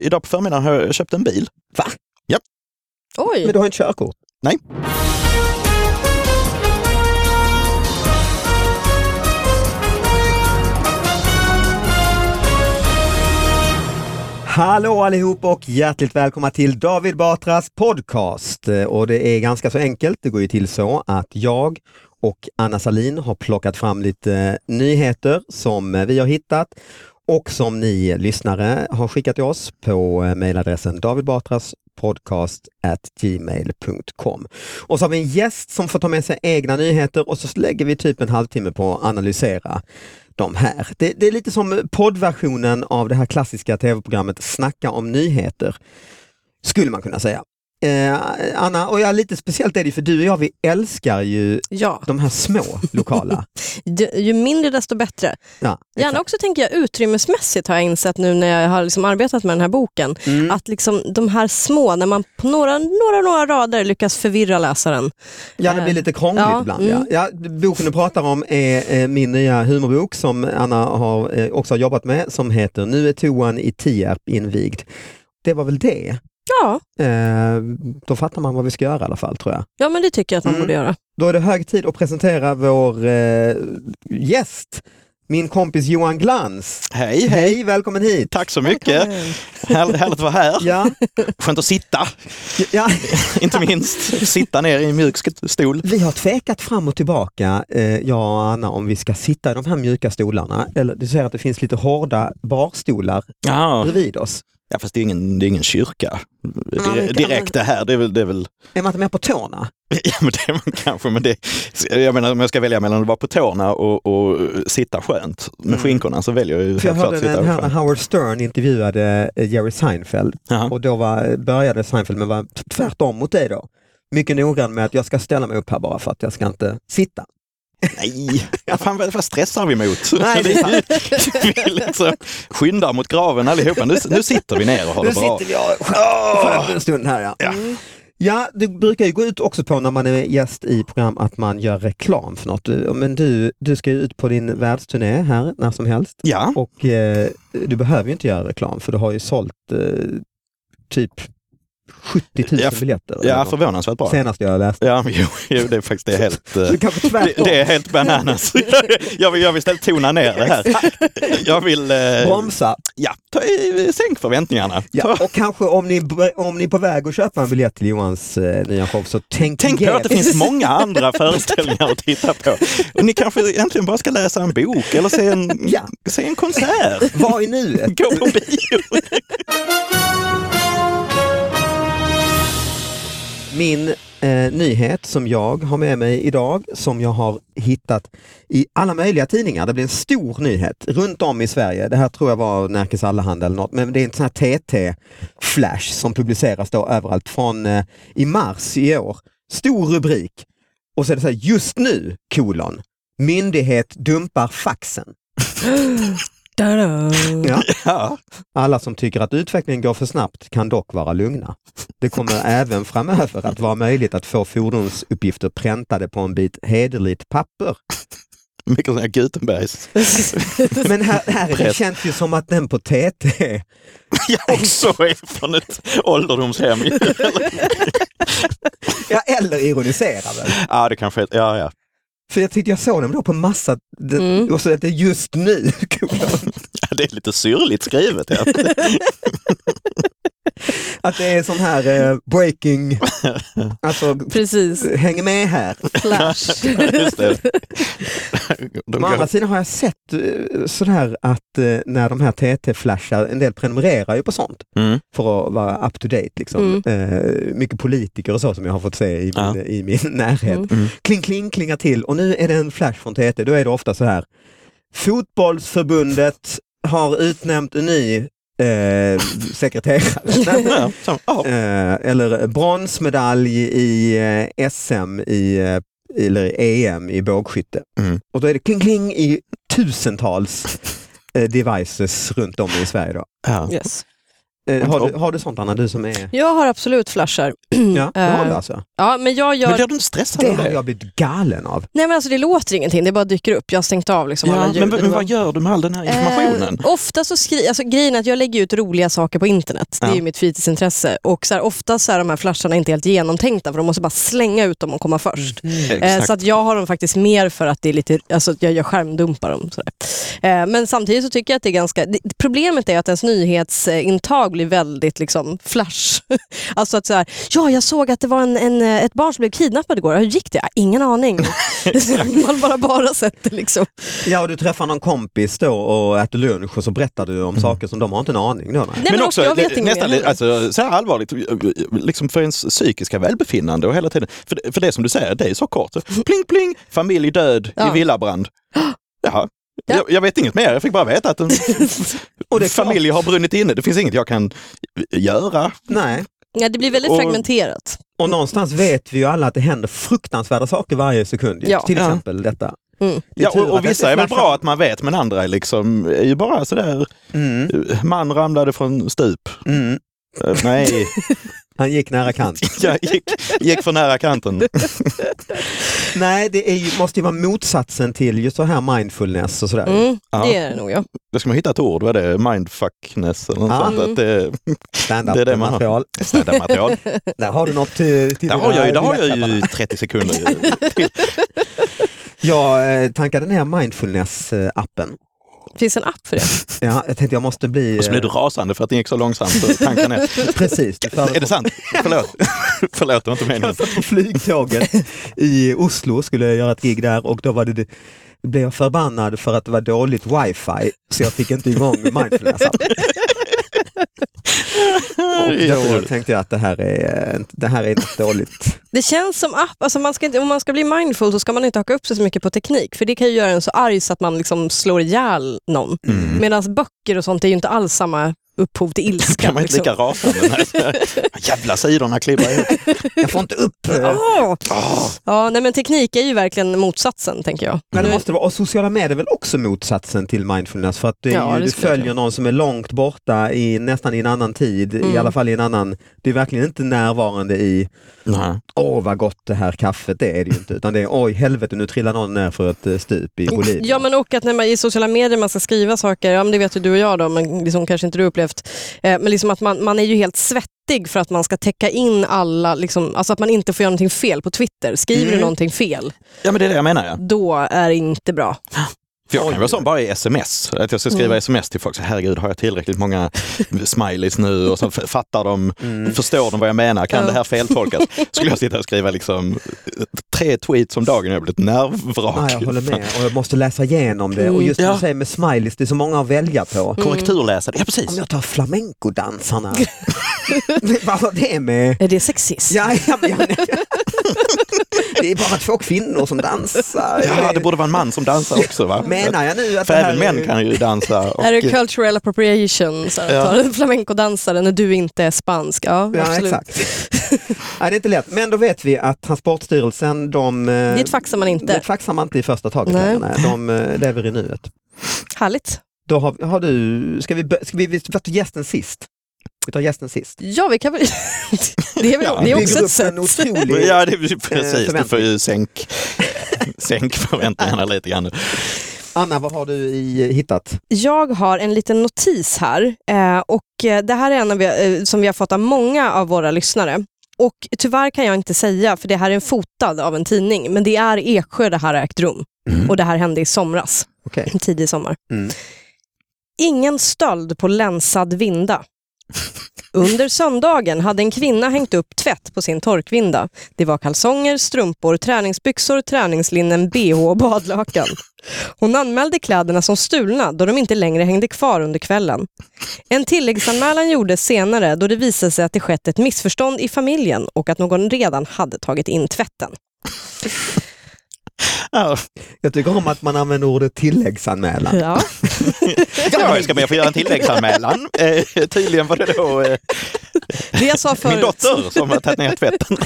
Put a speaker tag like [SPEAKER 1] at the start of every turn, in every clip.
[SPEAKER 1] Idag på förmiddagen har jag köpt en bil.
[SPEAKER 2] Va?
[SPEAKER 1] Ja.
[SPEAKER 2] Men
[SPEAKER 3] Oj!
[SPEAKER 2] du har inte körkort?
[SPEAKER 1] Nej.
[SPEAKER 2] Hallå allihop och hjärtligt välkomna till David Batras podcast. Eh, Och det är ganska så enkelt. Det går ju till så att jag och Anna Salin har plockat fram lite eh, nyheter som eh, vi har hittat och som ni lyssnare har skickat till oss på eh, mejladressen davidbatraspodcast@gmail.com. Och så har vi en gäst som får ta med sig egna nyheter och så lägger vi typ en halvtimme på att analysera de här. Det, det är lite som poddversionen av det här klassiska tv-programmet Snacka om nyheter, skulle man kunna säga. Eh, Anna, och ja, lite speciellt är det ju för du och jag, vi älskar ju
[SPEAKER 3] Ja,
[SPEAKER 2] de här små lokala.
[SPEAKER 3] ju- ju mindre desto bättre.
[SPEAKER 2] Ja,
[SPEAKER 3] Gärna
[SPEAKER 2] exakt.
[SPEAKER 3] också tänker jag utrymmesmässigt har jag insett nu när jag har liksom arbetat med den här boken.
[SPEAKER 2] Mm.
[SPEAKER 3] Att liksom de här små, när man på några, några, några rader lyckas förvirra läsaren.
[SPEAKER 2] Ja, det blir lite krångligt
[SPEAKER 3] Ja,
[SPEAKER 2] ibland.
[SPEAKER 3] mm.
[SPEAKER 2] Ja. Ja, boken du pratar om är eh, min nya humorbok som Anna har, eh, också har jobbat med som heter Nu är toan i Tierp invigd. Det var väl det.
[SPEAKER 3] Ja,
[SPEAKER 2] Eh, då fattar man vad vi ska göra i alla fall tror jag.
[SPEAKER 3] ja men det tycker jag att man
[SPEAKER 2] Mm.
[SPEAKER 3] borde göra.
[SPEAKER 2] Då är det hög tid att presentera vår eh, gäst, min kompis Johan Glans.
[SPEAKER 1] Hej, hej.
[SPEAKER 2] Hej, välkommen hit!
[SPEAKER 1] Tack så mycket.
[SPEAKER 3] Välkommen.
[SPEAKER 1] Härligt, härligt att vara här.
[SPEAKER 2] Ja,
[SPEAKER 1] Skönt att sitta,
[SPEAKER 2] ja,
[SPEAKER 1] inte minst. Sitta ner i en mjuk sk- stol.
[SPEAKER 2] vi har tvekat fram och tillbaka, eh, jag och Anna, om vi ska sitta i de här mjuka stolarna. Eller, du ser att det finns lite hårda barstolar
[SPEAKER 1] Ja,
[SPEAKER 2] bredvid oss.
[SPEAKER 1] ja fast det är ingen, det är ingen kyrka
[SPEAKER 3] men
[SPEAKER 1] Dire-
[SPEAKER 3] kan
[SPEAKER 1] direkt det här. Det är väl, det är väl
[SPEAKER 2] Är man inte med på tårna?
[SPEAKER 1] Ja, men det är man kanske, men det, jag menar om jag ska välja mellan att vara på tårna och, och sitta skönt med
[SPEAKER 2] Mm.
[SPEAKER 1] skinkorna så väljer jag ju helt
[SPEAKER 2] För jag
[SPEAKER 1] klart
[SPEAKER 2] hörde
[SPEAKER 1] sitta
[SPEAKER 2] den här när
[SPEAKER 1] skönt.
[SPEAKER 2] Howard Stern intervjuade eh, Jerry Seinfeld
[SPEAKER 1] Jaha.
[SPEAKER 2] och då var, började Seinfeld med att vara t- tvärtom mot dig då. Mycket noggrann med att jag ska ställa mig upp här bara för att jag ska inte sitta.
[SPEAKER 1] Nej, ja, fan, vad, vad stressar vi mot?
[SPEAKER 2] Nej, det är sant.
[SPEAKER 1] vi liksom skyndar mot graven allihopa. Nu, nu sitter vi ner och har
[SPEAKER 2] Nu
[SPEAKER 1] det bra.
[SPEAKER 2] sitter vi och sköter en stund här. Ja. Mm.
[SPEAKER 1] Ja.
[SPEAKER 2] ja, det brukar ju gå ut också på när man är gäst i program att man gör reklam för något. Du- Men du, du ska ju ut på din världsturné här när som helst
[SPEAKER 1] Ja,
[SPEAKER 2] och eh, du behöver ju inte göra reklam för du har ju sålt eh, typ 70 000
[SPEAKER 1] Ja, f-
[SPEAKER 2] biljetter. eller
[SPEAKER 1] ja
[SPEAKER 2] något.
[SPEAKER 1] förvånansvärt bra.
[SPEAKER 2] Senast jag läste.
[SPEAKER 1] Ja, men jo, jo, det är faktiskt det är helt... eh,
[SPEAKER 2] Så kanske
[SPEAKER 1] Det,
[SPEAKER 2] tvärtom.
[SPEAKER 1] det är helt bananas. Jag vill, jag vill istället tona ner det här. Jag vill... Eh,
[SPEAKER 2] Bromsa.
[SPEAKER 1] ja, ta, eh, sänk förväntningarna.
[SPEAKER 2] Ja, och kanske om ni, om ni är på väg att köpa en biljett till Johans eh, nya show så tänk,
[SPEAKER 1] Tänk på
[SPEAKER 2] igenom.
[SPEAKER 1] att det finns många andra föreställningar att titta på. Och ni kanske egentligen bara ska läsa en bok eller se en,
[SPEAKER 2] Ja.
[SPEAKER 1] se en konsert.
[SPEAKER 2] Vad är nuet?
[SPEAKER 1] Gå på bio.
[SPEAKER 2] Min eh, nyhet som jag har med mig idag, som jag har hittat i alla möjliga tidningar. Det blir en stor nyhet runt om i Sverige. Det här tror jag var Närkes Allehanda eller något, men det är en sån här TT-flash som publiceras då överallt från eh, i mars i år. Stor rubrik och så är det så här, just nu, kolon, myndighet dumpar faxen.
[SPEAKER 3] Ta-da.
[SPEAKER 2] Ja.
[SPEAKER 1] Ja.
[SPEAKER 2] Alla som tycker att utvecklingen går för snabbt kan dock vara lugna. Det kommer även framöver att vara möjligt att få fordonsuppgifter präntade på en bit hederligt papper.
[SPEAKER 1] Mycket sådana här Gutenbergs.
[SPEAKER 2] Men här, här det
[SPEAKER 1] Press.
[SPEAKER 2] känns ju som att den på TT,
[SPEAKER 1] Jag också är från ett ålderdomshem.
[SPEAKER 2] ja, eller ironiserar väl.
[SPEAKER 1] Ja, det kanske är... Ja, ja.
[SPEAKER 2] För jag tyckte jag såg den då på massa, den,
[SPEAKER 3] Mm.
[SPEAKER 2] och så att det är just nu. kolon,
[SPEAKER 1] Ja, Det är lite syrligt skrivet. Ja.
[SPEAKER 2] att det är sån här eh, breaking, alltså
[SPEAKER 3] Precis,
[SPEAKER 2] häng med här.
[SPEAKER 3] flash.
[SPEAKER 1] Just det. De
[SPEAKER 2] Å andra
[SPEAKER 1] går,
[SPEAKER 2] sidan har jag sett eh, sådär att eh, när de här TT-flashar, en del prenumererar ju på sånt.
[SPEAKER 1] mm.
[SPEAKER 2] för att vara up to date. Liksom. Eh, mycket politiker och så som jag har fått se i min,
[SPEAKER 1] Ja.
[SPEAKER 2] i min närhet.
[SPEAKER 3] Mm.
[SPEAKER 1] Mm.
[SPEAKER 2] Kling kling klingar till och nu är det en flash från TT. Då är det ofta så här. Fotbollsförbundet har utnämnt en ny eh, sekreterare.
[SPEAKER 1] Ja, så, ja.
[SPEAKER 2] eh, eller bronsmedalj i eh, SM i, eh, eller i EM i bågskytte.
[SPEAKER 1] Mm.
[SPEAKER 2] Och då är det kling kling i tusentals eh, devices runt om i Sverige. Då.
[SPEAKER 1] Ja.
[SPEAKER 3] Yes.
[SPEAKER 2] Eh, har, du, har du sånt Anna, du som är...
[SPEAKER 3] Jag har absolut flashar.
[SPEAKER 2] Ja, det har du
[SPEAKER 3] Eh,
[SPEAKER 2] alltså.
[SPEAKER 3] Ja, men jag gör...
[SPEAKER 1] Men blir du inte stressad
[SPEAKER 2] Det
[SPEAKER 1] av
[SPEAKER 2] har
[SPEAKER 1] det?
[SPEAKER 2] jag blivit galen av.
[SPEAKER 3] Nej men alltså det låter ingenting, det bara dyker upp. Jag har stängt av liksom alla
[SPEAKER 1] Ja,
[SPEAKER 3] ljud.
[SPEAKER 1] men, men vad gör du med all den här informationen?
[SPEAKER 3] Eh, ofta så skriver, alltså grejen är att jag lägger ut roliga saker på internet. Det är
[SPEAKER 1] Ja.
[SPEAKER 3] ju mitt fritidsintresse. Och så här, ofta så är de här flasharna inte helt genomtänkta för de måste bara slänga ut dem och komma först. Eh,
[SPEAKER 1] Mm. Exakt.
[SPEAKER 3] så att jag har dem faktiskt mer för att det är lite, alltså att jag gör skärmdumpar dem. Sådär. Eh, men samtidigt så tycker jag att det är ganska, det, problemet är att ens nyhetsintag blir väldigt liksom flash. alltså att så här, ja jag såg att det var en, en, eh, ett barn som blev kidnappad igår, hur gick det? "Ja, Ingen aning. Man bara bara sätter liksom.
[SPEAKER 2] Ja, och du träffar någon kompis då och äter lunch och så berättar du
[SPEAKER 1] Mm.
[SPEAKER 2] om saker som de har inte en aning då. Nej.
[SPEAKER 3] Nej, men, också, jag vet
[SPEAKER 1] det-
[SPEAKER 3] inget
[SPEAKER 1] nästan
[SPEAKER 3] mer.
[SPEAKER 1] li- alltså, så här allvarligt, liksom för ens psykiska välbefinnande och hela tiden. För, för det som du säger, det är så kort. Så, Pling pling, familj död
[SPEAKER 3] Ja.
[SPEAKER 1] i villabrand. Jaha.
[SPEAKER 3] Ja.
[SPEAKER 1] Jag, jag vet inget mer, jag fick bara veta att en
[SPEAKER 2] Och det är klart-
[SPEAKER 1] familj har brunnit inne. Det finns inget jag kan göra.
[SPEAKER 2] Nej.
[SPEAKER 3] Ja, det blir väldigt
[SPEAKER 1] Och-
[SPEAKER 3] fragmenterat.
[SPEAKER 2] Och någonstans vet vi ju alla att det händer fruktansvärda saker varje sekund. ju.
[SPEAKER 3] Ja.
[SPEAKER 2] Till
[SPEAKER 1] Mm. Ja.
[SPEAKER 2] exempel detta.
[SPEAKER 3] Mm.
[SPEAKER 2] Det är
[SPEAKER 1] Ja,
[SPEAKER 2] tur
[SPEAKER 1] och,
[SPEAKER 2] att
[SPEAKER 1] och
[SPEAKER 2] det-
[SPEAKER 1] vissa är väl bra att man vet, men andra är, liksom, är ju bara sådär, eh,
[SPEAKER 2] Mm,
[SPEAKER 1] man ramlade från stup.
[SPEAKER 2] mm.
[SPEAKER 1] Eh, Nej,
[SPEAKER 2] Han gick nära kant.
[SPEAKER 1] jag gick, gick för nära kanten.
[SPEAKER 2] Nej, det är ju, måste ju vara motsatsen till just så här mindfulness och sådär.
[SPEAKER 3] Mm,
[SPEAKER 1] Ja.
[SPEAKER 3] Det är det nog ja.
[SPEAKER 1] Då ska man hitta ett ord, vad är det? Mindfuckness eller något
[SPEAKER 2] Ja.
[SPEAKER 1] sånt. Att eh, det,
[SPEAKER 2] Stand-up
[SPEAKER 1] Det är det man har.
[SPEAKER 2] material.
[SPEAKER 1] standardmaterial.
[SPEAKER 2] Där har du något eh, till, till
[SPEAKER 1] Där har jag, ju- där har jag
[SPEAKER 2] julklapparna.
[SPEAKER 1] ju 30 sekunder. till.
[SPEAKER 2] Jag eh, tankade ner mindfulness-appen.
[SPEAKER 3] Finns en app för det?
[SPEAKER 2] eh, Ja, jag tänkte jag måste bli...
[SPEAKER 1] Och så blev du
[SPEAKER 2] eh,
[SPEAKER 1] rasande för att det gick så långsamt. Så tanken är,
[SPEAKER 2] Precis, du
[SPEAKER 1] är det sant? Förlåt, Förlåt det var inte meningen.
[SPEAKER 2] Jag satt på flygtåget i Oslo skulle jag göra ett gig där och då var det, blev jag förbannad för att det var dåligt wifi så jag fick inte igång mindfulness Och då
[SPEAKER 1] Jätteroligt.
[SPEAKER 2] tänkte jag att det här är, eh, det här är något dåligt.
[SPEAKER 3] Det känns som app, alltså man ska inte, om man ska bli mindful så ska man inte haka upp sig så mycket på teknik för det kan ju göra en så arg så att man liksom slår ihjäl någon.
[SPEAKER 1] Mm.
[SPEAKER 3] Medan böcker och sånt är ju inte alls samma upphov till ilska. liksom.
[SPEAKER 1] Kan man inte lika rasande? Nej. Jävla sidorna klibbar ihop.
[SPEAKER 2] Jag får inte upp eh,
[SPEAKER 3] Åh! Ah!
[SPEAKER 1] Ah!
[SPEAKER 3] Ja, nej men teknik är ju verkligen motsatsen tänker jag.
[SPEAKER 2] Men det måste det vara, och sociala medier är väl också motsatsen till mindfulness för att det är
[SPEAKER 3] Ja,
[SPEAKER 2] ju,
[SPEAKER 3] det
[SPEAKER 2] du
[SPEAKER 3] skulle jag
[SPEAKER 2] följer någon som är långt borta i nästan i en annan tid, i
[SPEAKER 3] Mm.
[SPEAKER 2] alla fall i en annan, det är verkligen inte närvarande i
[SPEAKER 1] Nej.
[SPEAKER 2] åh vad gott det här kaffet, det är det ju inte, utan det är oj helvete nu trillar någon ner för ett eh, stup i Bolivia.
[SPEAKER 3] Mm. Ja men och att när man i sociala medier man ska skriva saker, ja men det vet ju du och jag då, men liksom kanske inte du upplevt, eh, men liksom att man, man är ju helt svettig för att man ska täcka in alla, liksom, alltså att man inte får göra någonting fel på Twitter. Skriver du
[SPEAKER 2] Mm.
[SPEAKER 3] någonting fel,
[SPEAKER 1] Ja men det är det jag menar. Ja.
[SPEAKER 3] då är det inte bra.
[SPEAKER 1] För jag kan ju vara sån bara i sms. Att jag ska skriva sms till folk. Så, herregud, har jag tillräckligt många smileys nu? Och så f- fattar de,
[SPEAKER 2] Mm.
[SPEAKER 1] Mm. förstår de vad jag menar? Kan
[SPEAKER 3] Ja.
[SPEAKER 1] det här feltolkas? Skulle jag sitta och skriva liksom eh, tre tweets om dagen, jag blir ett nervvrak.
[SPEAKER 2] Ja, jag håller med och jag måste läsa igenom det och just som
[SPEAKER 1] Mm,
[SPEAKER 2] du
[SPEAKER 1] Ja. Mm.
[SPEAKER 2] säger med smileys, det är så många att välja på.
[SPEAKER 1] Korrekturläsare, ja precis.
[SPEAKER 2] Om jag tar flamencodansarna, vad har det med
[SPEAKER 3] Är det sexism?
[SPEAKER 2] Ja, ja, men, jag- det är bara två kvinnor som dansar.
[SPEAKER 1] Ja, det borde vara en man som dansar också va?
[SPEAKER 2] Menar jag nu att
[SPEAKER 1] För
[SPEAKER 2] alltså, det här
[SPEAKER 1] även män kan ju dansa. Och,
[SPEAKER 3] Är det cultural appropriation? Så här,
[SPEAKER 1] Ja.
[SPEAKER 3] Tar en flamencodansare när du inte är spansk? Ja,
[SPEAKER 2] Ja,
[SPEAKER 3] absolut.
[SPEAKER 2] exakt. Nej, det är inte lätt. Men då vet vi att Transportstyrelsen, de... Det
[SPEAKER 3] Dit faxar man inte.
[SPEAKER 2] Det faxar man inte i första taget
[SPEAKER 3] Nej.
[SPEAKER 2] längre. Nej, De eh, lever i nuet.
[SPEAKER 3] Härligt.
[SPEAKER 2] Då har, har du... Ska vi, bö- ska vi, vi tar gästen sist? Vi tar gästen sist.
[SPEAKER 3] Ja, vi kan väl... det är, väl,
[SPEAKER 1] Ja,
[SPEAKER 3] det är
[SPEAKER 2] Bygger
[SPEAKER 3] också ett
[SPEAKER 2] upp en
[SPEAKER 3] sätt.
[SPEAKER 2] otrolig...
[SPEAKER 1] Ja, det
[SPEAKER 2] Eh,
[SPEAKER 1] är precis. Du får ju
[SPEAKER 2] förväntning.
[SPEAKER 1] sänk, eh, sänk förväntningarna lite grann. nu.
[SPEAKER 2] Anna, vad har du i, eh, hittat?
[SPEAKER 3] Jag har en liten notis här eh, och eh, det här är en av, eh, som vi har fått av många av våra lyssnare. Och tyvärr kan jag inte säga, för det här är en fotad av en tidning, men det är Eksjö det här har ägt rum. Och det här hände i somras,
[SPEAKER 2] Okej.
[SPEAKER 3] tidig sommar.
[SPEAKER 2] Mm.
[SPEAKER 3] Ingen stöld på länsad vinda. Under söndagen hade en kvinna hängt upp tvätt på sin torkvinda. Det var kalsonger, strumpor, träningsbyxor, träningslinnen, bh och badlakan. Hon anmälde kläderna som stulna då de inte längre hängde kvar under kvällen. En tilläggsanmälan gjordes senare då det visade sig att det skett ett missförstånd i familjen och att någon redan hade tagit in tvätten.
[SPEAKER 1] Ja,
[SPEAKER 2] Jag tycker om att man använder ordet tilläggsanmälan.
[SPEAKER 3] Ja.
[SPEAKER 1] Ja, jag ska be att få göra en tilläggsanmälan. Eh, tydligen var det då eh,
[SPEAKER 3] Det jag sa
[SPEAKER 1] min
[SPEAKER 3] förut.
[SPEAKER 1] dotter som har tagit ner tvätten.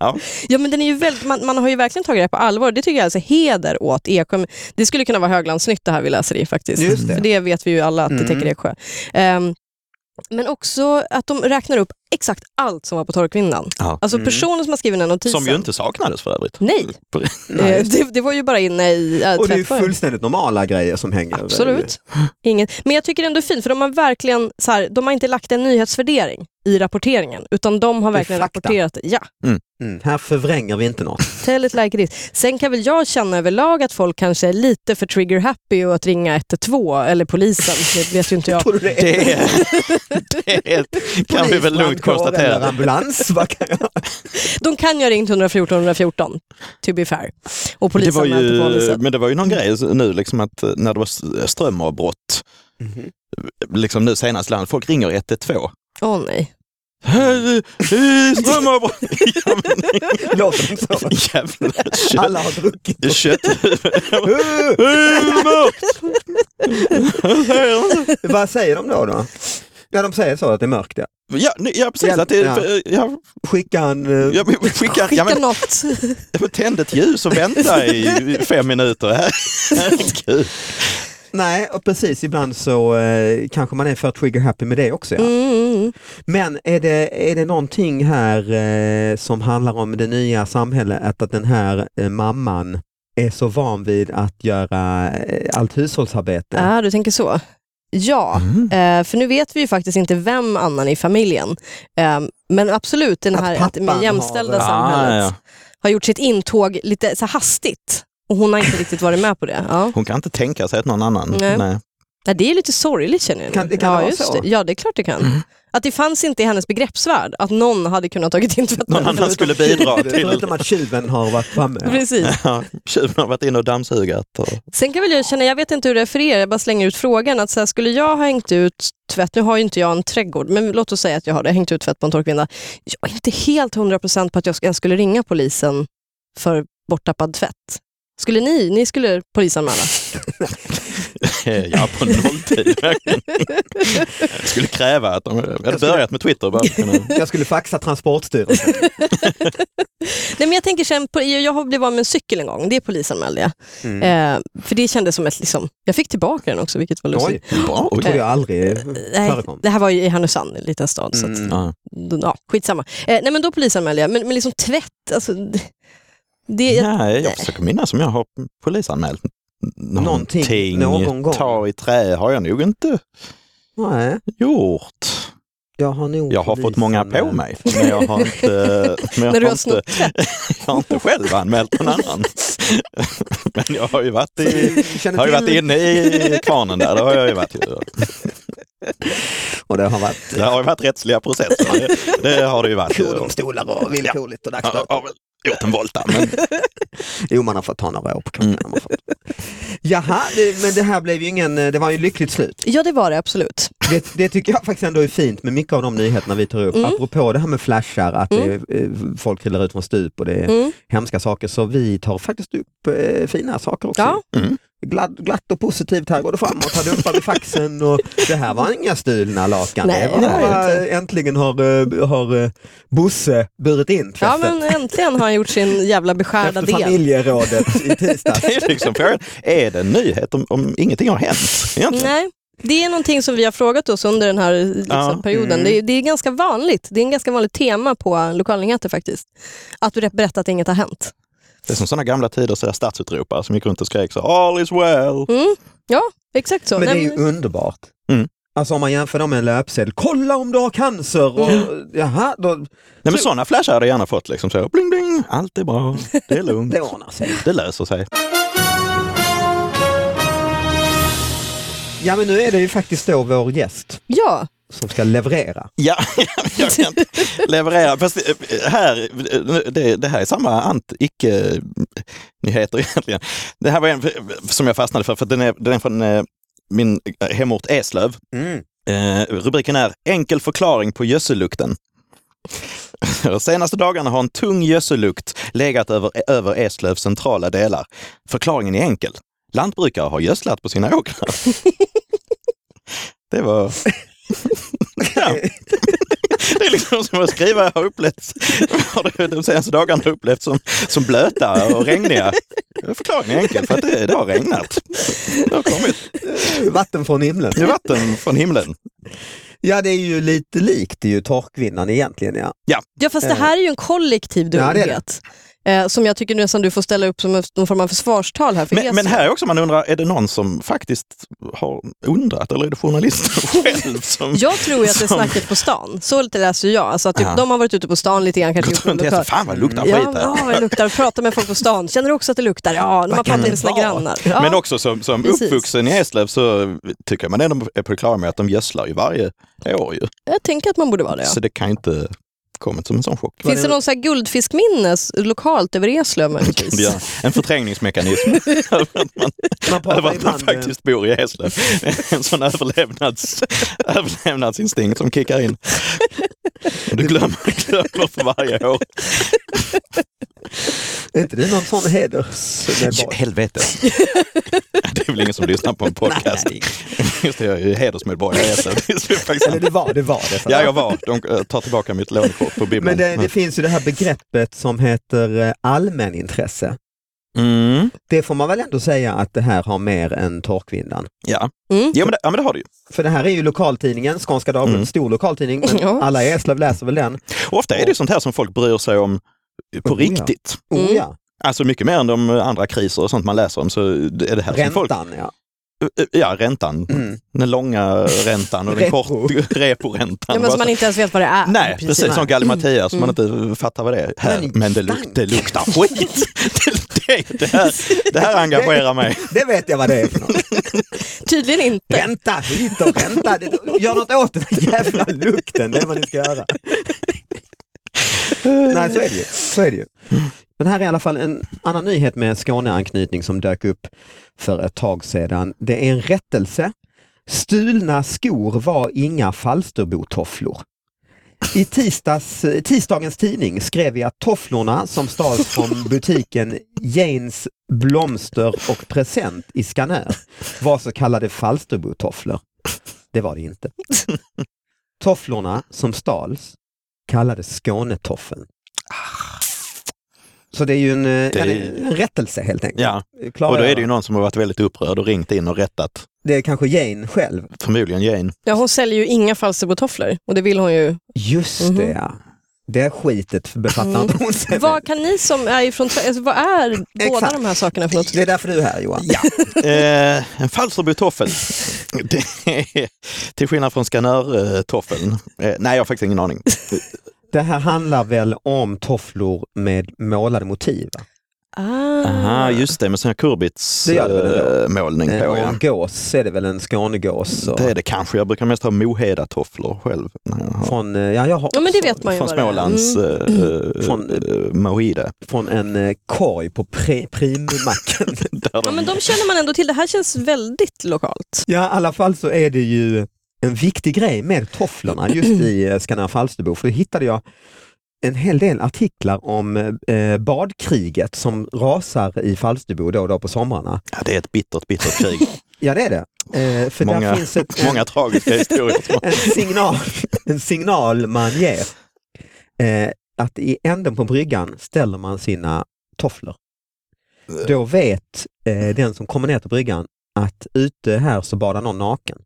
[SPEAKER 1] Ja.
[SPEAKER 3] Ja, men den är ju väldigt, man, man har ju verkligen tagit det här på allvar. Det tycker jag är alltså heder åt Eksjö. Det skulle kunna vara Höglandsnytt det här vi läser i faktiskt.
[SPEAKER 2] Just det. Mm.
[SPEAKER 3] För det vet vi ju alla att det täcker Eksjö. Ehm, Men också att de räknar upp exakt allt som var på torkvindan.
[SPEAKER 1] Ja.
[SPEAKER 3] Alltså
[SPEAKER 2] Mm.
[SPEAKER 3] personen som har skrivit den här notisen.
[SPEAKER 1] Som ju inte saknades för övrigt.
[SPEAKER 3] Nej,
[SPEAKER 2] Nej.
[SPEAKER 3] eh, det, det var ju bara inne i äh,
[SPEAKER 2] Och det är ju
[SPEAKER 3] tvättkorgen.
[SPEAKER 2] fullständigt normala grejer som hänger.
[SPEAKER 3] Absolut. Ingen. Men jag tycker ändå det är fint, för de har verkligen så här, de har inte lagt en nyhetsvärdering i rapporteringen, utan de har
[SPEAKER 2] Det är
[SPEAKER 3] verkligen
[SPEAKER 2] fakta.
[SPEAKER 3] rapporterat det. Ja,
[SPEAKER 2] Mm, här förvränger vi inte något.
[SPEAKER 3] tell it like it is. Sen kan väl jag känna överlag att folk kanske är lite för trigger happy och att ringa 112 eller polisen, det vet ju inte jag.
[SPEAKER 2] Tror du det? är
[SPEAKER 1] Det, det kan vi väl lugnt
[SPEAKER 2] polisbrandkår eller
[SPEAKER 1] konstatera.
[SPEAKER 2] ambulans? Vad kan jag?
[SPEAKER 3] De kan ju ha ringt 114 114, to be fair. Och
[SPEAKER 1] Det var,
[SPEAKER 3] polisanmält på
[SPEAKER 1] ju,
[SPEAKER 3] polisen.
[SPEAKER 1] men det var ju någon grej nu liksom att eh, när det var s- strömavbrott, Mm-hmm. liksom nu senast, land, folk ringer 112.
[SPEAKER 3] Åh nej.
[SPEAKER 1] Hej, eh, Strömavbrott! Ja, men-
[SPEAKER 2] Låter inte så.
[SPEAKER 1] Jävla kött.
[SPEAKER 2] Alla har druckit.
[SPEAKER 1] kött.
[SPEAKER 2] Uh, vad säger de då? då? Ja, de säger så att det är mörkt. Ja.
[SPEAKER 1] Ja, nej, ja precis.
[SPEAKER 2] Hjälp,
[SPEAKER 1] Att det,
[SPEAKER 2] ja.
[SPEAKER 1] ja. Ja,
[SPEAKER 2] Skicka en... eh,
[SPEAKER 1] ja, men skicka, ja,
[SPEAKER 3] Skicka
[SPEAKER 1] men,
[SPEAKER 3] något.
[SPEAKER 1] tänd ett ljus och vänta i fem minuter. Herregud.
[SPEAKER 2] Nej, och precis. Ibland så eh, kanske man är för trigger happy med det också. Ja.
[SPEAKER 3] Mm, mm.
[SPEAKER 2] Men är det, är det någonting här eh, som handlar om det nya samhället, att, att den här eh, mamman är så van vid att göra eh, allt hushållsarbete?
[SPEAKER 3] Ah, du tänker så. Ja, eh, för nu vet vi ju faktiskt inte vem annan i familjen. Eh, men absolut, den
[SPEAKER 2] Att
[SPEAKER 3] här att
[SPEAKER 2] pappan
[SPEAKER 3] med jämställda
[SPEAKER 2] har-
[SPEAKER 3] samhället
[SPEAKER 1] Ah, ja.
[SPEAKER 3] har gjort sitt intåg lite så här hastigt. Och hon har inte riktigt varit med på det. Ja.
[SPEAKER 1] Hon kan inte tänka sig att någon annan...
[SPEAKER 3] Nej.
[SPEAKER 1] Nej.
[SPEAKER 3] Nej, det är lite sorgligt känner jag. nu.
[SPEAKER 2] Kan- det kan
[SPEAKER 3] ja,
[SPEAKER 2] vara
[SPEAKER 3] just
[SPEAKER 2] så? Mm.
[SPEAKER 3] Det. Ja, det är klart det kan. Att det fanns inte i hennes begreppsvärld att någon hade kunnat tagit in tvätten.
[SPEAKER 1] Någon annan skulle bidra till...
[SPEAKER 2] Förutom att tjuven har varit framme.
[SPEAKER 3] Precis.
[SPEAKER 1] Ja, Tjuven har varit inne och dammsugat. Och...
[SPEAKER 3] Sen kan väl jag känna, jag vet inte hur det är för er, jag bara slänger ut frågan. Att så här, skulle jag ha hängt ut tvätt, nu har ju inte jag en trädgård, men låt oss säga att jag har det, hängt ut tvätt på en torkvinda. Jag är inte helt 100% på att jag sk- ens skulle ringa polisen för borttappad tvätt. Skulle ni, ni skulle polisanmäla?
[SPEAKER 1] Eh, Ja, på nolltid. Jag skulle kräva att de jag hade börjat med Twitter. Bara. för att kunna-
[SPEAKER 2] Jag skulle faxa Transportstyrelsen.
[SPEAKER 3] Nej men jag tänker sen, på, jag har blivit av med en cykel en gång, det polisanmälde jag.
[SPEAKER 1] Mm.
[SPEAKER 2] Mm.
[SPEAKER 3] Eh, för det kändes som ett, liksom, jag fick tillbaka den också vilket var
[SPEAKER 2] Oj,
[SPEAKER 3] lustigt.
[SPEAKER 1] Bra.
[SPEAKER 2] det tror jag aldrig
[SPEAKER 3] Eh, Nej,
[SPEAKER 2] förekom.
[SPEAKER 3] det här var ju i Härnösand, en liten stad. Så att,
[SPEAKER 2] Mm.
[SPEAKER 1] Ja.
[SPEAKER 3] ja, skitsamma. Eh, nej men då polisanmälde jag, men, men liksom tvätt, alltså, det, det,
[SPEAKER 2] Mm.
[SPEAKER 1] Nej, jag försöker minnas om jag har polisanmält någonting.
[SPEAKER 2] Någonting, någon gång.
[SPEAKER 1] Ta i trä har jag nog inte
[SPEAKER 2] Nej,
[SPEAKER 1] gjort.
[SPEAKER 2] jag har nog liksom-
[SPEAKER 1] Jag har fått många på
[SPEAKER 2] polisanmält.
[SPEAKER 1] mig, men jag har inte, men
[SPEAKER 3] När
[SPEAKER 1] jag
[SPEAKER 3] du
[SPEAKER 1] har
[SPEAKER 3] har
[SPEAKER 1] inte,
[SPEAKER 3] snott tvätt.
[SPEAKER 1] jag har inte själv anmält någon annan. Men jag har ju varit, i,
[SPEAKER 2] Känner
[SPEAKER 1] har ju
[SPEAKER 2] till-
[SPEAKER 1] varit inne i kvarnen där, det har jag ju varit.
[SPEAKER 2] Och det har varit
[SPEAKER 1] Det har ju varit rättsliga processer, det, det har det ju varit.
[SPEAKER 2] jourdomstolar och villkorligt och
[SPEAKER 1] Jag
[SPEAKER 2] dagsböter.
[SPEAKER 1] har väl gjort en volta, men
[SPEAKER 2] Jo, man har fått ta några år på
[SPEAKER 1] Mm.
[SPEAKER 2] kroppen. har man fått. Jaha, det, men det här blev ju ingen, eh, det var ju lyckligt slut.
[SPEAKER 3] Ja, det var det absolut.
[SPEAKER 2] Det, det tycker jag faktiskt ändå är fint med mycket av de nyheterna vi tar upp.
[SPEAKER 3] Mm.
[SPEAKER 2] Apropå det här med flashar, att det är, eh, folk trillar ut från stup och det är
[SPEAKER 3] Mm.
[SPEAKER 2] hemska saker. Så vi tar faktiskt upp eh, fina saker också.
[SPEAKER 3] Ja.
[SPEAKER 1] Mm.
[SPEAKER 2] Glad, glatt och positivt, här går det framåt, här dumpar vi faxen och det här var inga stulna lakan.
[SPEAKER 3] Nej,
[SPEAKER 2] det var,
[SPEAKER 3] det var det
[SPEAKER 2] bara, äntligen har, eh, har eh, Bosse burit in
[SPEAKER 3] Ja,
[SPEAKER 2] tvätten.
[SPEAKER 3] men äntligen har han gjort sin jävla beskärda
[SPEAKER 2] Efter
[SPEAKER 3] del.
[SPEAKER 2] familjerådet i tisdags.
[SPEAKER 1] det är liksom frågan, är det en nyhet om, om ingenting har hänt? Egentligen?
[SPEAKER 3] Nej, det är någonting som vi har frågat oss under den här liksom,
[SPEAKER 1] Ja,
[SPEAKER 3] perioden.
[SPEAKER 2] mm.
[SPEAKER 3] Det, är, det är ganska vanligt. Det är en ganska vanligt tema på lokalnyheter faktiskt. Att du berättar att inget har hänt.
[SPEAKER 1] Det är som sådana gamla tider, så där statsutropare som gick runt och skrek så all is well.
[SPEAKER 3] Mm. Ja, exakt så.
[SPEAKER 2] Men det är
[SPEAKER 3] Nej,
[SPEAKER 2] ju
[SPEAKER 3] men-
[SPEAKER 2] underbart.
[SPEAKER 1] Mm.
[SPEAKER 2] Alltså om man jämför dem med en löpsedel, kolla om du har cancer! Och, Jaha, då,
[SPEAKER 1] Nej, men sådana flashar hade jag gärna fått. Liksom, så, bling, bling, allt är bra, det är lugnt,
[SPEAKER 2] det ordnar sig.
[SPEAKER 1] det löser sig.
[SPEAKER 2] Ja men nu är det ju faktiskt då vår gäst
[SPEAKER 3] Ja,
[SPEAKER 2] som ska leverera.
[SPEAKER 1] Ja, jag kan inte leverera. Fast eh, här, eh, det, det här är samma ant, icke-nyheter egentligen. Det här var en som jag fastnade för, för den är, den är från eh, min hemort Eslöv. Eh, rubriken är Enkel förklaring på gödsellukten. De senaste dagarna har en tung gödsellukt legat över, över Eslövs centrala delar. Förklaringen är enkel. Lantbrukare har gödslat på sina åkrar. Det var... Ja. Det är liksom som att skriva jag har upplevt har de senaste dagarna har upplevt som, som blöta och regniga. Förklaringen är enkel, för att det, det har regnat. Det har kommit
[SPEAKER 2] Vatten från himlen.
[SPEAKER 1] vatten från himlen.
[SPEAKER 2] Ja, det är ju lite likt det är ju torkvinnan egentligen. Ja.
[SPEAKER 3] Ja fast det
[SPEAKER 2] Eh.
[SPEAKER 3] här är ju en kollektiv
[SPEAKER 2] Ja, det är
[SPEAKER 3] dumhet. Eh, som jag tycker nästan du får ställa upp som en- någon form av försvarstal här för
[SPEAKER 1] Men,
[SPEAKER 3] Jesu.
[SPEAKER 1] men här är också man undrar, är det någon som faktiskt har undrat eller är det journalisten själv som
[SPEAKER 3] Jag tror ju att det är
[SPEAKER 1] Som-
[SPEAKER 3] snacket på stan. Så lite läser jag. Alltså att typ,
[SPEAKER 1] Ja.
[SPEAKER 3] de har varit ute på stan lite grann. Kanske
[SPEAKER 1] gått
[SPEAKER 3] gjort
[SPEAKER 1] runt och
[SPEAKER 3] olika-
[SPEAKER 1] tänkt, fan vad det luktar
[SPEAKER 3] Ja,
[SPEAKER 1] skit här.
[SPEAKER 3] ja, vad det luktar. Prata med folk på stan. Känner du också att det luktar? Ja, när man
[SPEAKER 2] kan
[SPEAKER 3] pratar
[SPEAKER 2] det
[SPEAKER 3] med sina
[SPEAKER 2] vara?
[SPEAKER 3] grannar. Ja.
[SPEAKER 1] Men också som, som
[SPEAKER 3] Precis.
[SPEAKER 1] uppvuxen i Eslöv så tycker man ändå är på det klara med att de gödslar ju varje år. Ju.
[SPEAKER 3] Jag tänker att man borde vara det. Ja.
[SPEAKER 1] Så det kan ju inte kommit som en sån chock.
[SPEAKER 3] Finns det någon så här guldfiskminnes lokalt över Eslöv möjligtvis?
[SPEAKER 1] Det gör En förträngningsmekanism
[SPEAKER 2] Man
[SPEAKER 1] över
[SPEAKER 2] pratar
[SPEAKER 1] att man
[SPEAKER 2] ibland, eh,
[SPEAKER 1] faktiskt bor i Eslöv. En sån överlevnads, överlevnadsinstinkt som kickar in. Och du glömmer, glömmer för varje år.
[SPEAKER 2] eh, Är inte det någon sån hedersmedborgare?
[SPEAKER 1] Helvete. Det är väl ingen som lyssnar på en podcast. Just det, jag är ju hedersmedborgare i Eslöv. Det är så faktiskt
[SPEAKER 2] Eller det var det. Var det så.
[SPEAKER 1] Ja, jag var. De eh, tar tillbaka mitt lånekort på Bibeln.
[SPEAKER 2] Men det, det finns ju det här begreppet som heter eh, allmänintresse.
[SPEAKER 1] Mm.
[SPEAKER 2] Det får man väl ändå säga att det här har mer än torkvindan.
[SPEAKER 1] Ja.
[SPEAKER 3] Mm.
[SPEAKER 1] Jo, men det, ja, men det har du ju.
[SPEAKER 2] För det här är ju lokaltidningen, Skånska Dagbladet,
[SPEAKER 1] Mm.
[SPEAKER 2] stor lokaltidning, men
[SPEAKER 3] Ja.
[SPEAKER 2] alla i Eslöv läser väl den?
[SPEAKER 1] Och ofta är det ju sånt här som folk bryr sig om på
[SPEAKER 2] Oh, ja.
[SPEAKER 1] riktigt.
[SPEAKER 2] Oh,
[SPEAKER 3] Mm.
[SPEAKER 2] ja.
[SPEAKER 1] Alltså mycket mer än de andra kriser och sånt man läser om så är det här som folk...
[SPEAKER 2] Räntan ja.
[SPEAKER 1] Ja, räntan.
[SPEAKER 2] Mm.
[SPEAKER 1] Den långa räntan och den
[SPEAKER 2] Repo.
[SPEAKER 1] kort reporäntan.
[SPEAKER 3] Ja, men
[SPEAKER 1] Bara
[SPEAKER 3] som man
[SPEAKER 1] så-
[SPEAKER 3] inte ens vet vad det är.
[SPEAKER 1] Nej, precis, som Gallimatias, man inte fattar vad det är. Här,
[SPEAKER 2] Men
[SPEAKER 1] men det, luk,
[SPEAKER 2] stank.
[SPEAKER 1] det luktar skit! det, det, det, här, det här engagerar mig.
[SPEAKER 2] Det vet jag vad det är för något.
[SPEAKER 3] Tydligen inte.
[SPEAKER 2] Ränta hit och ränta dit. Gör något åt den här jävla lukten, det är vad ni ska göra. Nej, så är det ju. Så är det ju. Men här är i alla fall en annan nyhet med Skåneanknytning som dök upp för ett tag sedan. Det är en rättelse. Stulna skor var inga Falsterbo-tofflor. I tisdags, tisdagens tidning skrev vi att tofflorna som stals från butiken Janes blomster och present i Skanör var så kallade Falsterbo-tofflor. Det var det inte. Tofflorna som stals kallades Skånetoffeln. Så det är ju en, eh, ja, det är en rättelse helt enkelt.
[SPEAKER 1] Ja,
[SPEAKER 2] Klarar
[SPEAKER 1] och då är
[SPEAKER 2] jag.
[SPEAKER 1] det ju någon som har varit väldigt upprörd och ringt in och rättat,
[SPEAKER 2] det är kanske Jane själv.
[SPEAKER 1] förmodligen Jane.
[SPEAKER 3] Ja, hon säljer ju inga Falsterbo-tofflor och det vill hon ju.
[SPEAKER 2] Just
[SPEAKER 3] Mhm.
[SPEAKER 2] det ja. Det skitet befattar
[SPEAKER 3] Mm.
[SPEAKER 2] inte hon sig med.
[SPEAKER 3] Vad kan ni som är ifrån alltså, vad är båda
[SPEAKER 2] Exakt.
[SPEAKER 3] de här sakerna för något?
[SPEAKER 2] Det är därför du är här Johan.
[SPEAKER 1] Ja, eh, en Falsterbo-toffel. Det är- Till skillnad från Skanör-toffeln. Eh, nej, jag har faktiskt ingen aning.
[SPEAKER 2] Det här handlar väl om tofflor med målade motiv? va?
[SPEAKER 3] Ah.
[SPEAKER 1] Aha, just det, med sån här
[SPEAKER 2] Det gör det väl ändå.
[SPEAKER 1] kurbits-målning
[SPEAKER 2] Eh,
[SPEAKER 1] på.
[SPEAKER 2] och
[SPEAKER 1] Ja.
[SPEAKER 2] en gås är det väl, en skånegås. Och
[SPEAKER 1] Det är det kanske. Jag brukar mest ha Moheda-tofflor själv. när jag har-
[SPEAKER 2] Från, eh, ja, jag har
[SPEAKER 3] Ja, men det
[SPEAKER 2] också-
[SPEAKER 3] vet man ju
[SPEAKER 1] Från
[SPEAKER 3] vad det är.
[SPEAKER 1] Smålands
[SPEAKER 3] Mm.
[SPEAKER 1] eh, eh,
[SPEAKER 2] Från-
[SPEAKER 1] eh, Moheda.
[SPEAKER 2] från en eh, korg på pri- Primmacken.
[SPEAKER 1] Där
[SPEAKER 3] Ja, men de känner man ändå till. Det här känns väldigt lokalt.
[SPEAKER 2] ja, i alla fall så är det ju en viktig grej med tofflorna just i eh, Skanör Falsterbo. För då hittade jag en hel del artiklar om eh, badkriget som rasar i Falsterbo då och då på somrarna.
[SPEAKER 1] ja, det är ett bittert, bittert krig.
[SPEAKER 2] Ja, det är det. Eh, för där
[SPEAKER 1] Många-
[SPEAKER 2] finns ett, eh,
[SPEAKER 1] Många tragiska historier. som-
[SPEAKER 2] en signal, en signal man ger. Eh, att i änden på bryggan ställer man sina tofflor. Då vet eh, den som kommer ner till bryggan att ute här så badar någon naken.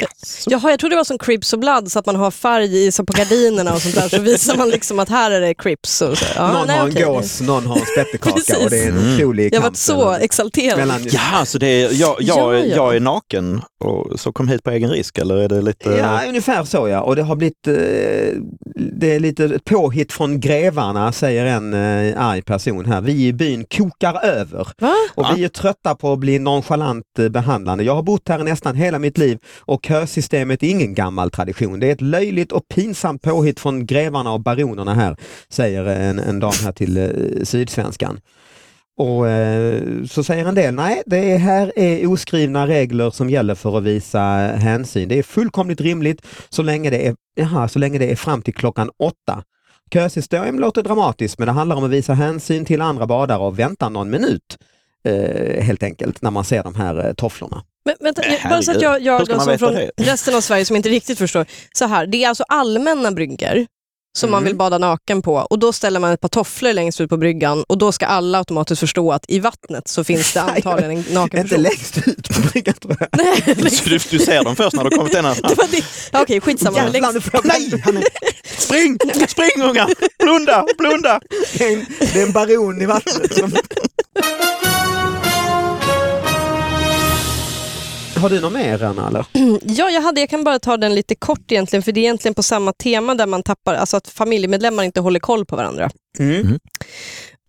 [SPEAKER 1] Yes.
[SPEAKER 3] Jaha, jag trodde det var som Crips och Blood, så att man har färg i, så på gardinerna och sånt där, så visar man liksom att här är det Crips. Och så. Ja,
[SPEAKER 2] någon
[SPEAKER 3] nej,
[SPEAKER 2] har en
[SPEAKER 3] okej.
[SPEAKER 2] gås, någon har en spettekaka
[SPEAKER 3] Precis.
[SPEAKER 2] och det är en
[SPEAKER 1] Mm.
[SPEAKER 2] otrolig
[SPEAKER 3] Jag har
[SPEAKER 2] kamp
[SPEAKER 3] varit så
[SPEAKER 2] mellan-
[SPEAKER 3] exalterad.
[SPEAKER 2] mellan,
[SPEAKER 1] Ja, så det är, jag, jag,
[SPEAKER 3] Ja, ja.
[SPEAKER 1] jag är naken och så kom hit på egen risk eller är det lite...
[SPEAKER 2] Ja, ungefär så ja. Och det har blivit, eh, det är lite ett påhitt från grevarna säger en eh, arg person här. Vi i byn kokar över.
[SPEAKER 3] Va?
[SPEAKER 2] Och
[SPEAKER 1] Va?
[SPEAKER 2] vi är trötta på att bli nonchalant eh, behandlade. Jag har bott här nästan hela mitt liv och kösystemet är ingen gammal tradition. Det är ett löjligt och pinsamt påhitt från grevarna och baronerna här, säger en, en dam här till eh, Sydsvenskan. Och eh, så säger en del, nej det är här är oskrivna regler som gäller för att visa hänsyn. Det är fullkomligt rimligt så länge det är, jaha, så länge det är fram till klockan åtta. Kösystem låter dramatiskt men det handlar om att visa hänsyn till andra badare och vänta någon minut eh, helt enkelt när man ser de här eh, tofflorna.
[SPEAKER 3] Men, vänta,
[SPEAKER 1] Men
[SPEAKER 3] jag- bara så att jag,
[SPEAKER 1] herregud,
[SPEAKER 3] jag
[SPEAKER 1] hur ska
[SPEAKER 3] då,
[SPEAKER 1] man
[SPEAKER 3] som
[SPEAKER 1] veta
[SPEAKER 3] från
[SPEAKER 1] det?
[SPEAKER 3] resten av Sverige som inte riktigt förstår. Så här, det är alltså allmänna bryggor som man
[SPEAKER 1] Mm.
[SPEAKER 3] vill bada naken på och då ställer man ett par tofflor längst ut på bryggan och då ska alla automatiskt förstå att i vattnet så finns det antagligen en naken
[SPEAKER 2] Inte
[SPEAKER 3] person.
[SPEAKER 2] längst ut på bryggan tror jag.
[SPEAKER 1] Så du, du ser dem först när du kommit en annan.
[SPEAKER 3] Det var det. Ja, Okej, skitsamma.
[SPEAKER 2] Jävlar, nu
[SPEAKER 3] Längst-
[SPEAKER 2] får jag-
[SPEAKER 1] Nej! Han är... Spring! Spring unga! Blunda! Blunda!
[SPEAKER 2] Det är en, det är en baron i vattnet. Som... Har du någon mer Anna? Eller?
[SPEAKER 3] Ja, jag, hade, jag kan bara ta den lite kort egentligen, för det är egentligen på samma tema där man tappar, alltså att familjemedlemmar inte håller koll på varandra.
[SPEAKER 2] Mm.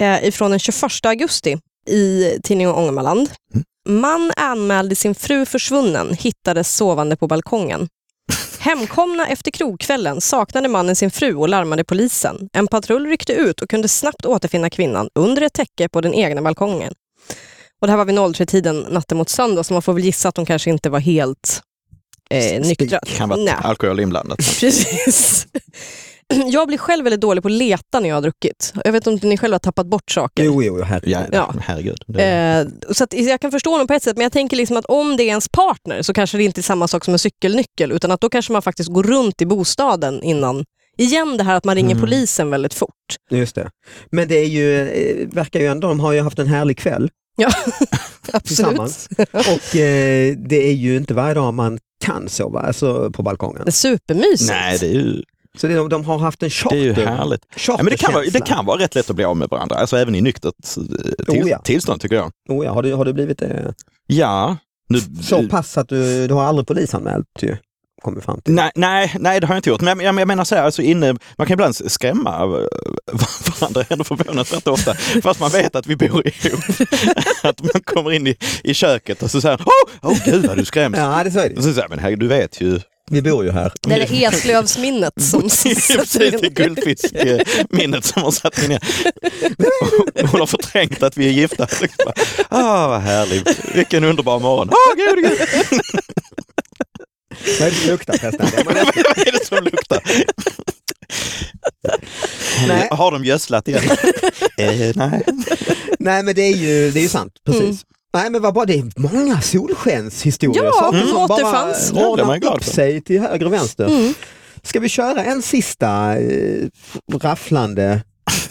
[SPEAKER 3] Eh, ifrån den 21 augusti i tidningen Ångermanland.
[SPEAKER 1] Mm.
[SPEAKER 3] Man anmälde sin fru försvunnen, hittades sovande på balkongen. Hemkomna efter krogkvällen saknade mannen sin fru och larmade polisen. En patrull ryckte ut och kunde snabbt återfinna kvinnan under ett täcke på den egna balkongen. Och det här var vid 03-tiden natten mot söndag, så man får väl gissa att de kanske inte var helt eh, nyktra.
[SPEAKER 1] Kan vara
[SPEAKER 3] Nej.
[SPEAKER 1] alkohol inblandat.
[SPEAKER 3] Precis. Jag blir själv väldigt dålig på att leta när jag har druckit. Jag vet inte om ni själva har tappat bort saker.
[SPEAKER 2] Jo, jo, jo, herregud.
[SPEAKER 1] Ja,
[SPEAKER 3] Ja.
[SPEAKER 1] herregud. Det-
[SPEAKER 3] Eh, så att jag kan förstå honom på ett sätt, men jag tänker liksom att om det är ens partner så kanske det inte är samma sak som en cykelnyckel, utan att då kanske man faktiskt går runt i bostaden innan. Igen det här att man ringer
[SPEAKER 1] Mm.
[SPEAKER 3] polisen väldigt fort.
[SPEAKER 2] Just det. Men det är ju, eh, verkar ju ändå, de har ju haft en härlig kväll
[SPEAKER 3] Ja,
[SPEAKER 2] tillsammans.
[SPEAKER 3] absolut.
[SPEAKER 2] Och eh, det är ju inte varje dag man kan sova alltså, på balkongen.
[SPEAKER 3] Det är supermysigt.
[SPEAKER 1] Nej, det är ju,
[SPEAKER 2] Så det, de har haft en
[SPEAKER 1] det är ju
[SPEAKER 2] charter.
[SPEAKER 1] härligt. Ja, men det, kan vara, det kan vara rätt lätt att bli av med varandra, alltså även i nyktert eh, till,
[SPEAKER 2] Oh, ja.
[SPEAKER 1] tillstånd tycker jag.
[SPEAKER 2] Oh, ja, har, du, har du blivit eh,
[SPEAKER 1] Ja, nu,
[SPEAKER 2] så pass att du, du har aldrig polisanmält ju? Kommer fram till.
[SPEAKER 1] Nej, nej, nej, det har jag inte gjort. Men jag, jag menar så här, alltså inne, man kan ibland skrämma eh, varandra ändå förvånansvärt ofta, fast man vet att vi bor ihop. att man kommer in i, i köket och så säger han, åh, åh gud vad du skräms.
[SPEAKER 2] Ja, det så
[SPEAKER 1] Och
[SPEAKER 2] är det.
[SPEAKER 1] så säger jag, men herregud, du vet ju.
[SPEAKER 2] Vi bor ju här.
[SPEAKER 3] Det är Eslövsminnet som
[SPEAKER 1] Precis,
[SPEAKER 3] sätter
[SPEAKER 1] det är
[SPEAKER 3] in.
[SPEAKER 1] guldfiskminnet som har satt mig ner. Hon har förträngt att vi är gifta. Ah, vad härligt. Vilken underbar morgon. Åh, gud, gud.
[SPEAKER 2] Vad är det som luktar förresten?
[SPEAKER 1] Vad är det som luktar?
[SPEAKER 2] Nej.
[SPEAKER 1] Har de gödslat igen? eh, nej.
[SPEAKER 2] Nej men det är ju, det är ju sant, precis. Nej men vad bra, det är många solskenshistorier.
[SPEAKER 3] Ja,
[SPEAKER 2] saker
[SPEAKER 3] mm.
[SPEAKER 2] som
[SPEAKER 3] återfanns.
[SPEAKER 1] Ja, det
[SPEAKER 2] bara
[SPEAKER 1] blir man
[SPEAKER 2] ordnat
[SPEAKER 1] glad
[SPEAKER 2] upp
[SPEAKER 1] för.
[SPEAKER 2] sig till höger och vänster.
[SPEAKER 3] Mm.
[SPEAKER 2] Ska vi köra en sista eh, rafflande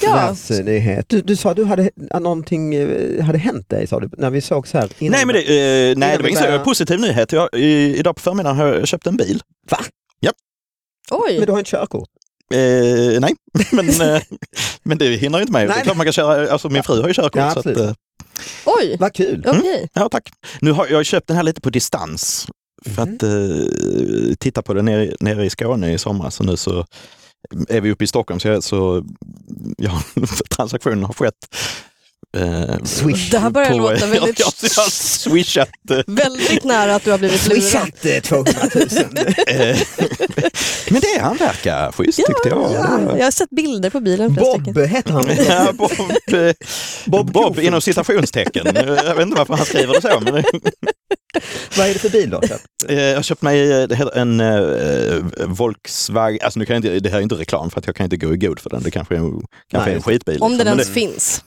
[SPEAKER 3] Ja.
[SPEAKER 2] världsnyhet? Du, du sa att du hade, att någonting eh, hade hänt dig, sa du, när vi sågs här. Innan.
[SPEAKER 1] Nej, men det, eh, nej, det var
[SPEAKER 2] vi
[SPEAKER 1] inte så.
[SPEAKER 2] börjar-
[SPEAKER 1] Positiv nyhet. Jag, i, idag på förmiddagen har jag köpt en bil.
[SPEAKER 3] Oj,
[SPEAKER 2] Men du har inte körkort?
[SPEAKER 1] Eh, nej, men, eh, men det hinner inte med. Det
[SPEAKER 2] Nej.
[SPEAKER 1] är klart man kan köra, alltså min fru har ju körkort.
[SPEAKER 2] Ja,
[SPEAKER 1] så att,
[SPEAKER 2] absolut.
[SPEAKER 1] eh,
[SPEAKER 3] oj,
[SPEAKER 2] Vad kul!
[SPEAKER 1] Mm.
[SPEAKER 3] okej.
[SPEAKER 1] ja, tack. Nu har jag köpt den här lite på distans för
[SPEAKER 3] Mhm.
[SPEAKER 1] att eh, titta på den nere, nere i Skåne i somras. Så nu så är vi uppe i Stockholm så, jag, så ja, transaktionen har skett. Eh,
[SPEAKER 2] Swish.
[SPEAKER 3] Det här börjar
[SPEAKER 1] på-
[SPEAKER 3] låta
[SPEAKER 1] jag,
[SPEAKER 3] väldigt,
[SPEAKER 1] jag, jag har swishat eh,
[SPEAKER 3] väldigt nära att du har blivit lurad.
[SPEAKER 2] Swishat eh, 200 000.
[SPEAKER 1] Eh, Men det han verkar schysst tyckte jag.
[SPEAKER 3] Ja, jag har sett bilder på bilen. flera stycken.
[SPEAKER 2] Bob heter han.
[SPEAKER 1] Ja, Bob, eh, Bob, Bob inom citationstecken. Eh, Jag vet inte varför han skriver det så. Men,
[SPEAKER 2] Vad är det för bil då?
[SPEAKER 1] eh, jag har köpt mig eh, det heter en eh, Volkswagen, alltså nu kan jag inte, det här är inte reklam för att jag kan inte gå i god för den, det kanske är en, kanske är
[SPEAKER 2] Nej.
[SPEAKER 1] en skitbil.
[SPEAKER 3] Om den
[SPEAKER 1] liksom. Men
[SPEAKER 3] ens finns.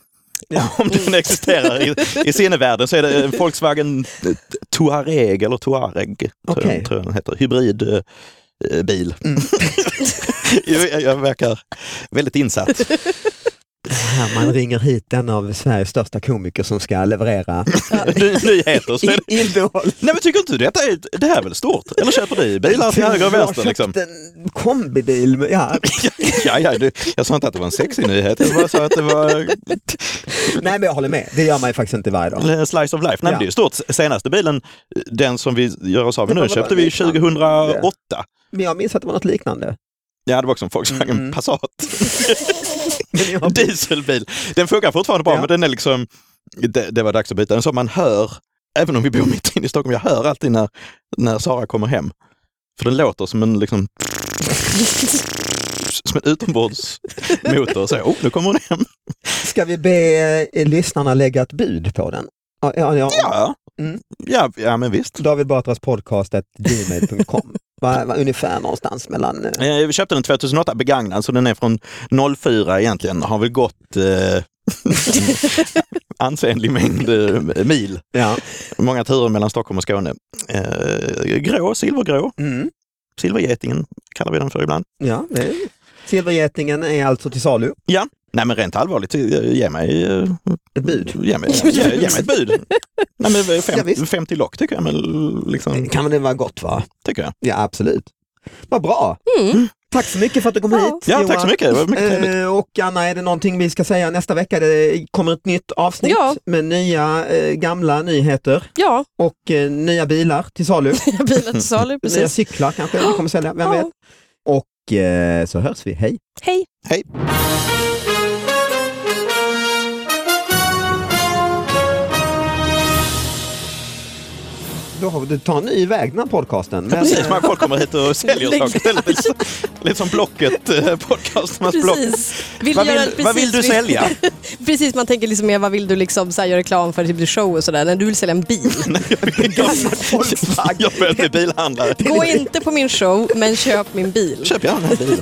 [SPEAKER 1] det, om den existerar i, i sinnevärlden så är det eh, Volkswagen Touareg eller Touareg, tror,
[SPEAKER 2] Okej.
[SPEAKER 1] jag, tror jag den heter, hybrid eh, eh, bil.
[SPEAKER 3] Mm.
[SPEAKER 1] jag, jag verkar väldigt insatt.
[SPEAKER 2] Här man ringer hit en av Sveriges största komiker som ska leverera
[SPEAKER 1] Ny, nyheter. Så är det,
[SPEAKER 2] innehåll.
[SPEAKER 1] nej men tycker inte du detta är, det här är väl stort? Eller köper du bilar till höger och vänster?
[SPEAKER 2] Jag
[SPEAKER 1] Liksom?
[SPEAKER 2] köpte en kombibil. Med, ja.
[SPEAKER 1] Ja, ja, du, jag sa inte att det var en sexig nyhet, jag bara sa att det var
[SPEAKER 2] Nej men jag håller med, det gör man ju faktiskt inte varje dag.
[SPEAKER 1] en slice of life. Nej, men det är ju stort. Senaste bilen, den som vi gör oss av med nu, köpte vi 2008.
[SPEAKER 2] Men jag minns att det var något liknande.
[SPEAKER 1] Ja, det var också en Volkswagen
[SPEAKER 2] Mm.
[SPEAKER 1] Passat.
[SPEAKER 2] Men jag,
[SPEAKER 1] Dieselbil. Den funkar fortfarande bra,
[SPEAKER 2] Ja.
[SPEAKER 1] men den är liksom, det, det var dags att byta den. Så man hör, även om vi bor mitt inne i Stockholm, jag hör alltid när, när Sara kommer hem. För den låter som en liksom som en utombordsmotor. Så, oh, nu kommer hon hem.
[SPEAKER 2] ska vi be eh, lyssnarna lägga ett bud på den? Ja, ja, ja.
[SPEAKER 1] Ja,
[SPEAKER 2] Mm.
[SPEAKER 1] ja, ja men visst.
[SPEAKER 2] David Batras podcast at gmail.com. Va, va, ungefär någonstans mellan... eh,
[SPEAKER 1] Eh, Vi köpte den 2008 begagnad, så den är från 04 egentligen. Har väl gått eh, ansenlig mängd eh, mil.
[SPEAKER 2] Ja.
[SPEAKER 1] Många turer mellan Stockholm och Skåne. Eh, grå, silvergrå.
[SPEAKER 2] Mm.
[SPEAKER 1] Silvergetingen kallar vi den för ibland.
[SPEAKER 2] Ja, det är Silvergetingen är alltså till salu.
[SPEAKER 1] Ja, nej men rent allvarligt, ge mig, eh,
[SPEAKER 2] Ett bud.
[SPEAKER 1] ge mig, ge, ge mig ett bud. Nej, men eh,
[SPEAKER 2] Ja,
[SPEAKER 1] fem,
[SPEAKER 2] visst. Eh,
[SPEAKER 1] 50 lock tycker jag, men liksom,
[SPEAKER 2] Kan det vara gott va?
[SPEAKER 1] tycker jag.
[SPEAKER 2] Ja, absolut. Vad bra!
[SPEAKER 3] Mm,
[SPEAKER 1] Mm.
[SPEAKER 2] Tack så mycket för att du kom
[SPEAKER 3] Ja.
[SPEAKER 2] hit.
[SPEAKER 1] Ja, tack
[SPEAKER 2] Johan.
[SPEAKER 1] så mycket. Det var mycket trevligt.
[SPEAKER 2] Eh, och Anna, är det någonting vi ska säga nästa vecka? Det kommer ett nytt avsnitt
[SPEAKER 3] Ja.
[SPEAKER 2] med nya eh, gamla nyheter
[SPEAKER 3] Ja,
[SPEAKER 2] och eh, nya bilar till salu.
[SPEAKER 3] bilar till salu,
[SPEAKER 2] Nya
[SPEAKER 3] precis.
[SPEAKER 2] cyklar kanske vi kommer sälja, vem
[SPEAKER 3] Ja.
[SPEAKER 2] vet? Och eh, så hörs vi, hej!
[SPEAKER 3] Hej!
[SPEAKER 1] Hej.
[SPEAKER 2] Då har vi, ta en ny väg den här podcasten. Men, eh,
[SPEAKER 1] Precis, man folk kommer hit och säljer
[SPEAKER 3] Lägg-
[SPEAKER 1] saker. Det är Lite, som- lite som Blocket, eh, podcasternas Block.
[SPEAKER 3] Precis. Vill
[SPEAKER 1] Vad
[SPEAKER 3] göra-
[SPEAKER 1] vill, vad vill du
[SPEAKER 3] precis.
[SPEAKER 1] sälja?
[SPEAKER 3] Precis, man tänker liksom mer vad vill du liksom så här, göra reklam för, typ show och sådär. Nej, du vill sälja en bil.
[SPEAKER 2] Gammal Volkswagen.
[SPEAKER 1] Jag börjar bli bilhandlare.
[SPEAKER 3] Gå inte på min show, men köp min bil.
[SPEAKER 1] Köp gärna en bil.